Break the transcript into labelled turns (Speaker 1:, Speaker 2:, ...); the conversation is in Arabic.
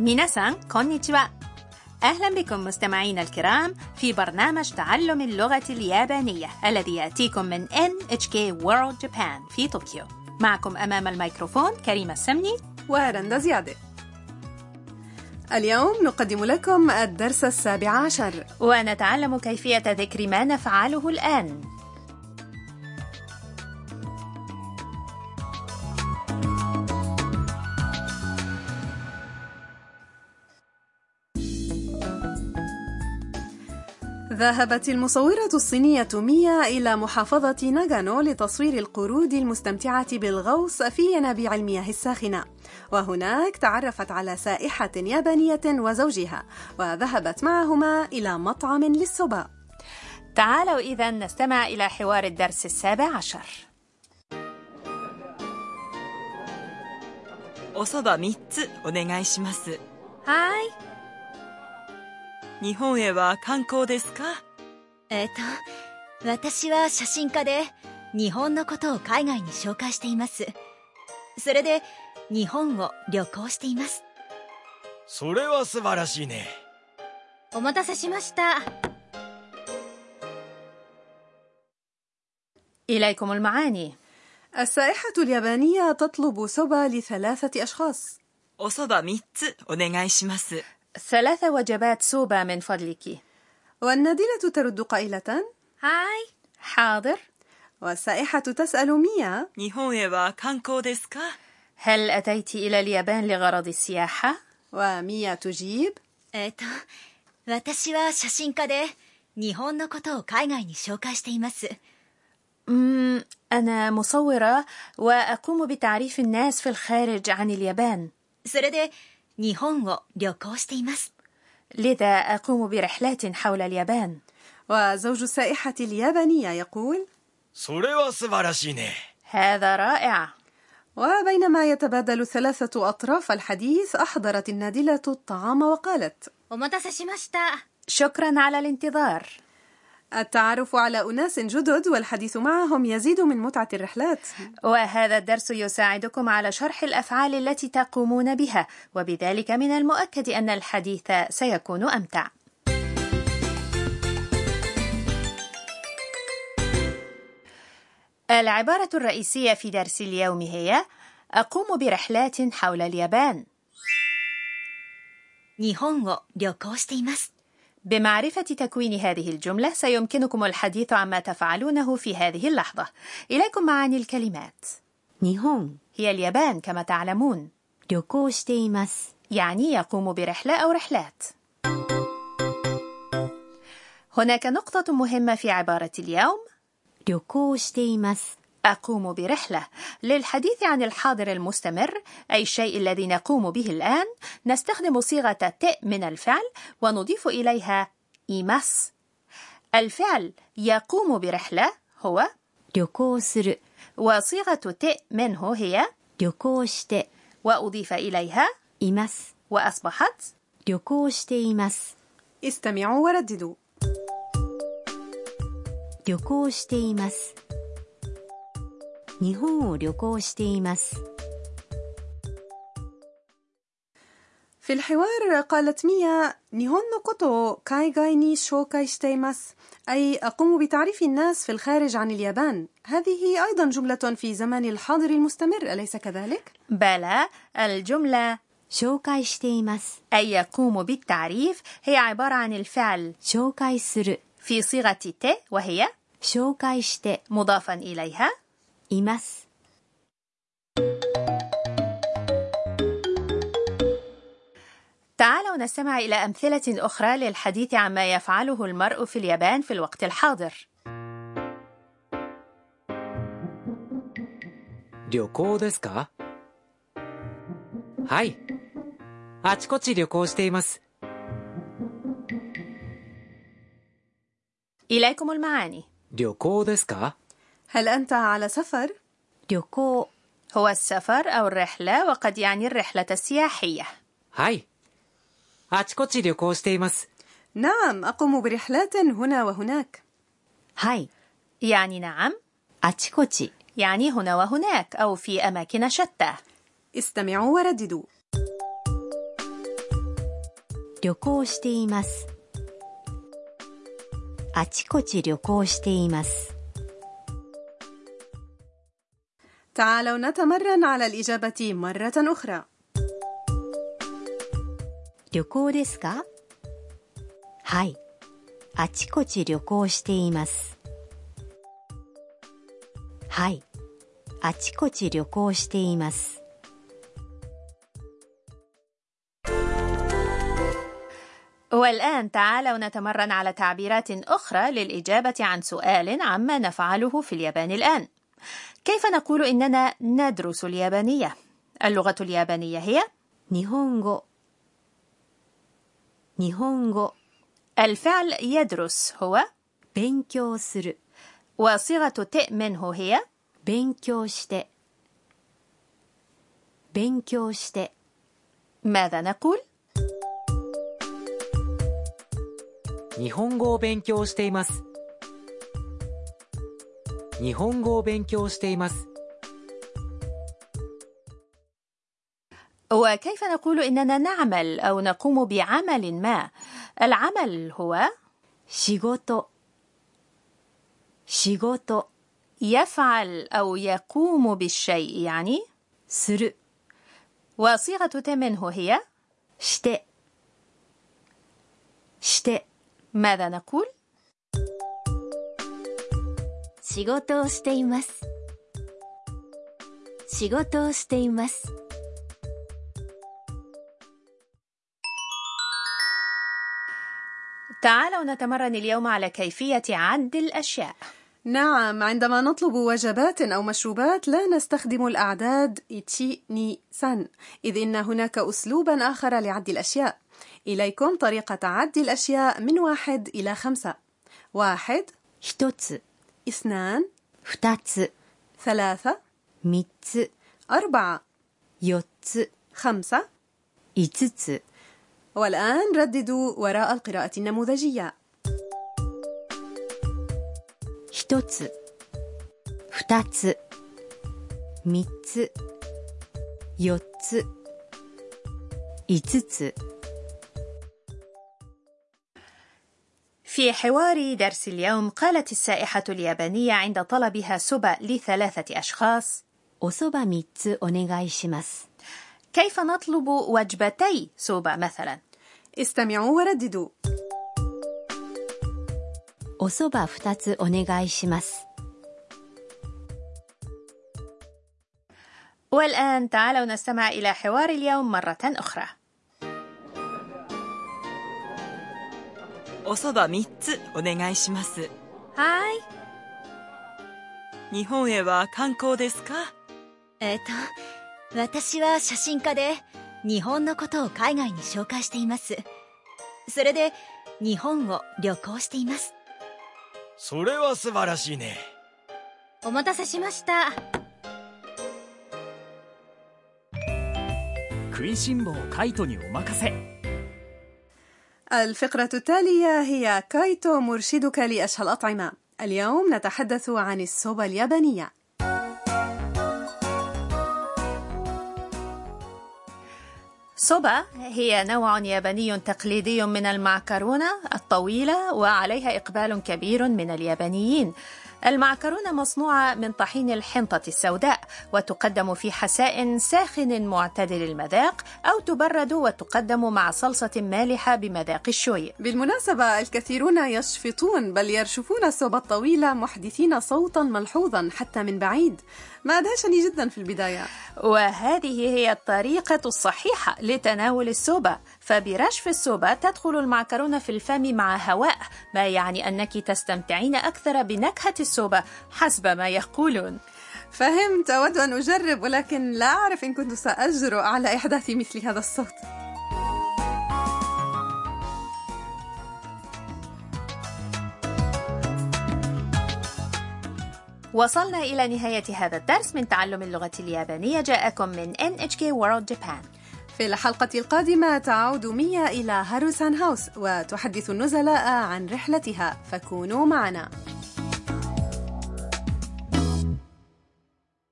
Speaker 1: ميناسان كونيتشوا أهلا بكم مستمعينا الكرام في برنامج تعلم اللغة اليابانية الذي يأتيكم من NHK World Japan في طوكيو معكم أمام الميكروفون كريمة السمني
Speaker 2: وهرندا زيادة اليوم نقدم لكم الدرس السابع عشر
Speaker 1: ونتعلم كيفية ذكر ما نفعله الآن
Speaker 2: ذهبت المصورة الصينية ميا إلى محافظة ناغانو لتصوير القرود المستمتعة بالغوص في ينابيع المياه الساخنة وهناك تعرفت على سائحة يابانية وزوجها وذهبت معهما إلى مطعم للسوبا
Speaker 1: تعالوا إذا نستمع إلى حوار الدرس السابع عشر
Speaker 3: おそば3つお願いします
Speaker 1: هاي
Speaker 3: 日本へは観光ですか
Speaker 4: えっと私は写真家で日本のことを海外に紹介していますそれで日本を旅行しています
Speaker 5: それは素晴らしいね
Speaker 4: お待たせしました
Speaker 1: إليكم المعاني
Speaker 2: السائحة اليابانية تطلب سوبا لثلاثة أشخاص
Speaker 3: おそば3つお願いします
Speaker 1: ثلاث وجبات سوبا من فضلك
Speaker 2: والنادلة ترد قائلة
Speaker 1: هاي حاضر
Speaker 2: والسائحة تسأل ميا
Speaker 3: 日本へは観光ですか
Speaker 1: هل أتيت إلى اليابان لغرض السياحة؟
Speaker 2: وميا تجيب
Speaker 4: えっと私は写真家で日本のことを海外に紹介しています
Speaker 1: أمم، أنا مصورة وأقوم بتعريف الناس في الخارج عن اليابان
Speaker 4: それで日本を旅行しています
Speaker 1: لذا أقوم برحلات حول اليابان
Speaker 2: وزوج السائحة اليابانية يقول
Speaker 5: それは素晴らしいね
Speaker 1: هذا رائع
Speaker 2: وبينما يتبادل الثلاثة أطراف الحديث أحضرت النادلة الطعام وقالت
Speaker 4: お待たせしました
Speaker 1: شكرا على الانتظار
Speaker 2: التعرف على أناس جدد والحديث معهم يزيد من متعة الرحلات
Speaker 1: وهذا الدرس يساعدكم على شرح الأفعال التي تقومون بها وبذلك من المؤكد أن الحديث سيكون أمتع العبارة الرئيسية في درس اليوم هي أقوم برحلات حول اليابان
Speaker 4: 日本を旅行しています
Speaker 1: بمعرفة تكوين هذه الجملة سيمكنكم الحديث عما تفعلونه في هذه اللحظة إليكم معاني الكلمات
Speaker 6: 日本
Speaker 1: هي اليابان كما تعلمون
Speaker 6: 旅行しています
Speaker 1: يعني يقوم برحلة أو رحلات. هناك نقطة مهمة في عبارة اليوم
Speaker 6: 旅行しています
Speaker 1: أقوم برحلة للحديث عن الحاضر المستمر أي الشيء الذي نقوم به الآن نستخدم صيغة ت من الفعل ونضيف إليها إيماس الفعل يقوم برحلة هو
Speaker 6: 旅行する
Speaker 1: وصيغة ت منه هي
Speaker 6: 旅行して
Speaker 1: وأضيف إليها
Speaker 6: います
Speaker 1: وأصبحت
Speaker 6: 旅行しています
Speaker 2: استمعوا ورددوا
Speaker 6: 旅行しています日本を旅行しています
Speaker 2: في الحوار قالت ميا نيهون نوكوتو كاي غايني شوكاي شتيماس أي أقوم بتعريف الناس في الخارج عن اليابان هذه أيضا جملة في زمان الحاضر المستمر أليس كذلك؟
Speaker 1: بلى الجملة
Speaker 6: 紹介しています
Speaker 1: أي يقوم بالتعريف هي عبارة عن الفعل
Speaker 6: 紹介する
Speaker 1: في صيغة ت وهي
Speaker 6: 紹介して
Speaker 1: مضافا إليها
Speaker 6: います
Speaker 1: تعالوا نستمع إلى أمثلة أخرى للحديث عما يفعله المرء في اليابان في الوقت الحاضر
Speaker 7: 旅行ですかはいあちこち旅行しています
Speaker 1: إليكم المعاني
Speaker 7: 旅行ですか
Speaker 2: هل أنت على سفر؟
Speaker 6: 旅行
Speaker 1: هو السفر أو الرحلة وقد يعني الرحلة السياحية
Speaker 7: はいあちこち旅行しています
Speaker 2: نعم أقوم برحلات هنا وهناك
Speaker 6: はい
Speaker 1: يعني نعم
Speaker 6: あちこち
Speaker 1: يعني هنا وهناك أو في أماكن شتى
Speaker 2: استمعوا ورددوا
Speaker 6: 旅行していますあちこち旅行しています
Speaker 2: تعالوا نتمرن على الإجابة مرة أخرى
Speaker 6: 旅行ですかはいあちこち旅行していますはいあちこち旅行しています
Speaker 1: والآن تعالوا نتمرن على تعبيرات أخرى للإجابة عن سؤال عما نفعله في اليابان الآن. كيف نقول إننا ندرس اليابانية؟ اللغة اليابانية هي
Speaker 6: 日本語日本語
Speaker 1: الفعل يدرس هو
Speaker 6: 勉強する
Speaker 1: وصيغة ت منه هي
Speaker 6: 勉強して勉強して
Speaker 1: ماذا نقول؟
Speaker 7: 日本語を勉強しています。日本語を勉強しています。
Speaker 1: وكيف نقول إننا نعمل أو نقوم بعمل ما؟ العمل هو
Speaker 6: 仕事仕事
Speaker 1: يفعل أو يقوم بالشيء يعني
Speaker 6: する
Speaker 1: وصيغة ت منه هي
Speaker 6: してして
Speaker 1: ماذا نقول؟
Speaker 4: 仕事をしています仕事をしています
Speaker 1: تعالوا نتمرن اليوم على كيفية عد الأشياء
Speaker 2: نعم عندما نطلب وجبات أو مشروبات لا نستخدم الأعداد إتشي ني سان إذ إن هناك أسلوبا آخر لعد الأشياء إليكم طريقة عد الأشياء من واحد إلى خمسة واحد
Speaker 6: 一つ
Speaker 2: اثنان
Speaker 6: 二つ
Speaker 2: ثلاثة
Speaker 6: 三つ
Speaker 2: أربعة
Speaker 6: 四つ
Speaker 2: خمسة
Speaker 6: 五つ
Speaker 2: والآن رددوا وراء القراءة النموذجية
Speaker 6: 一つ二つ三つ四つ五つ
Speaker 1: في حوار درس اليوم قالت السائحة اليابانية عند طلبها سبأ لثلاثة أشخاص
Speaker 6: おそば三つお願いします
Speaker 1: كيف نطلب وجبتي سوبا مثلا
Speaker 2: استمعوا ورددوا
Speaker 6: おそば二つお願いします。
Speaker 1: والآن تعالوا نستمع إلى حوار اليوم مرة أخرى
Speaker 3: おそば3つお願いします
Speaker 1: はい
Speaker 3: 日本へは観光ですか
Speaker 4: えっ、と私は写真家で日本のことを海外に紹介していますそれで日本を旅行しています
Speaker 5: それは素晴らしいね
Speaker 4: お待たせしました
Speaker 8: 食いしん坊カイトにお任せ
Speaker 2: الفقرة التالية هي كايتو مرشدك لأشهى الأطعمة اليوم نتحدث عن السوبا اليابانية
Speaker 1: سوبا هي نوع ياباني تقليدي من المعكرونة الطويلة وعليها إقبال كبير من اليابانيين. المعكرونة مصنوعة من طحين الحنطة السوداء وتقدم في حساء ساخن معتدل المذاق أو تبرد وتقدم مع صلصة مالحة بمذاق الشوي.
Speaker 2: بالمناسبة الكثيرون يشفطون بل يرشفون السوبا الطويلة محدثين صوتا ملحوظا حتى من بعيد ما أدهشني جدا في البداية
Speaker 1: وهذه هي الطريقة الصحيحة لتناول السوبا فبرشف السوبا تدخل المعكرونة في الفم مع هواء ما يعني أنك تستمتعين أكثر بنكهة السوبا حسب ما يقولون
Speaker 2: فهمت أود أن أجرب ولكن لا أعرف إن كنت سأجرؤ على إحداث مثل هذا الصوت
Speaker 1: وصلنا إلى نهاية هذا الدرس من تعلم اللغة اليابانية جاءكم من NHK World Japan
Speaker 2: في الحلقة القادمة تعود ميا إلى هاروسان هاوس وتحدث النزلاء عن رحلتها فكونوا معنا